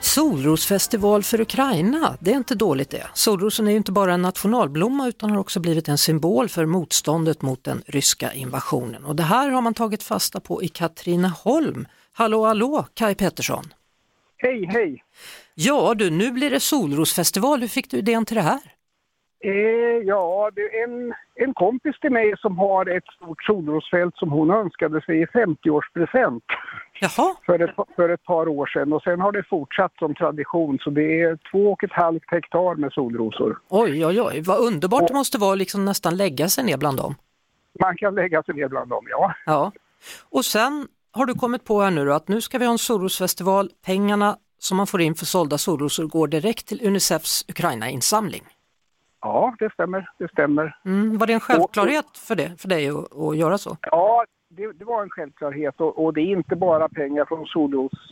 Solrosfestival för Ukraina, det är inte dåligt det. Solrosen är ju inte bara en nationalblomma utan har också blivit en symbol för motståndet mot den ryska invasionen. Och det här har man tagit fasta på i Katrineholm. Hallå hallå, Kai Pettersson. Hej, hej! Ja du, nu blir det solrosfestival. Hur fick du idén till det här? Eh, ja, det är en, en kompis till mig som har ett stort solrosfält som hon önskade sig i 50-årspresent Jaha, för ett, för ett par år sedan. Och sen har det fortsatt som tradition, så det är två och ett halvt hektar med solrosor. oj oj oj, vad underbart det måste vara liksom nästan lägga sig ner bland dem. Man kan lägga sig ner bland dem, ja. Ja. Och sen har du kommit på här nu då, att nu ska vi ha en solrosfestival. Pengarna som man får in för sålda solrosor går direkt till Unicefs Ukraina-insamling. Ja, det stämmer, det stämmer. Mm, var det en självklarhet för, det, för dig att, att göra så? Ja, det, det var en självklarhet och, och det är inte bara pengar från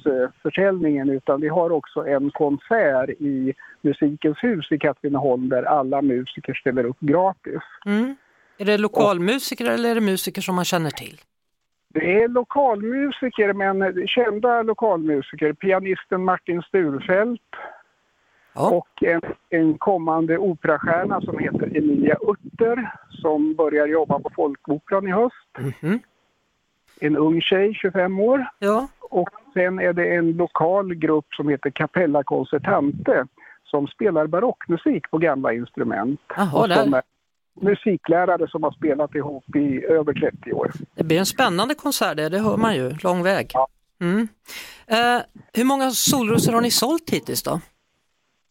solrosförsäljningen utan vi har också en konsert i Musikens hus i Katrineholm där alla musiker ställer upp gratis. Är det lokalmusiker eller är det musiker som man känner till? Det är lokalmusiker, men kända lokalmusiker. Pianisten Martin Sturfeldt Ja. och en, en kommande operastjärna som heter Emilia Utter som börjar jobba på Folkoperan i höst. Mhm. En ung tjej, 25 år. Ja. Och sen är det en lokal grupp som heter Capella Concertante som spelar barockmusik på gamla instrument. Jaha, och som där. är musiklärare som har spelat ihop i över 30 år. Det blir en spännande konsert det, det hör man ju, lång väg. Ja. Mm. Eh, hur många solrosor har ni sålt hittills då?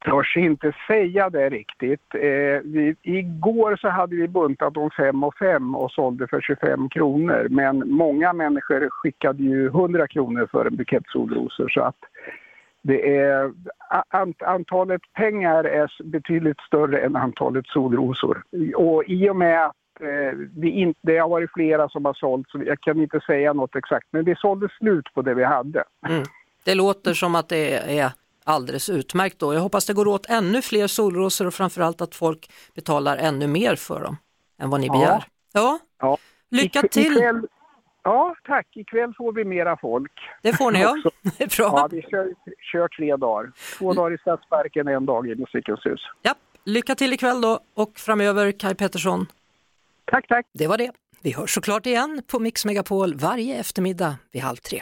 Törs inte säga det riktigt. Eh, vi, igår så hade vi buntat om fem och fem och sålde för 25 kronor. Men många människor skickade ju 100 kronor för en bukett solrosor. Så att det är, a- ant, antalet pengar är s- betydligt större än antalet solrosor. Och i och med att eh, vi inte, det har varit flera som har sålt, så jag kan inte säga något exakt. Men vi sålde slut på det vi hade. Det låter som att det är alldeles utmärkt då. Jag hoppas det går åt ännu fler solrosor och framförallt att folk betalar ännu mer för dem än vad ni begär. Ja, Ja. lycka Ik- till! Ikväll, ja, tack. Ikväll får vi mera folk. Det får ni ja. Det är Ja, bra. vi kör, kör tre dagar. Två dagar i Stadsparken, en dag i Musikens hus. Japp. Lycka till ikväll då och framöver Kai Pettersson. Tack, tack. Det var det. Vi hörs såklart igen på Mix Megapol varje eftermiddag vid halv tre.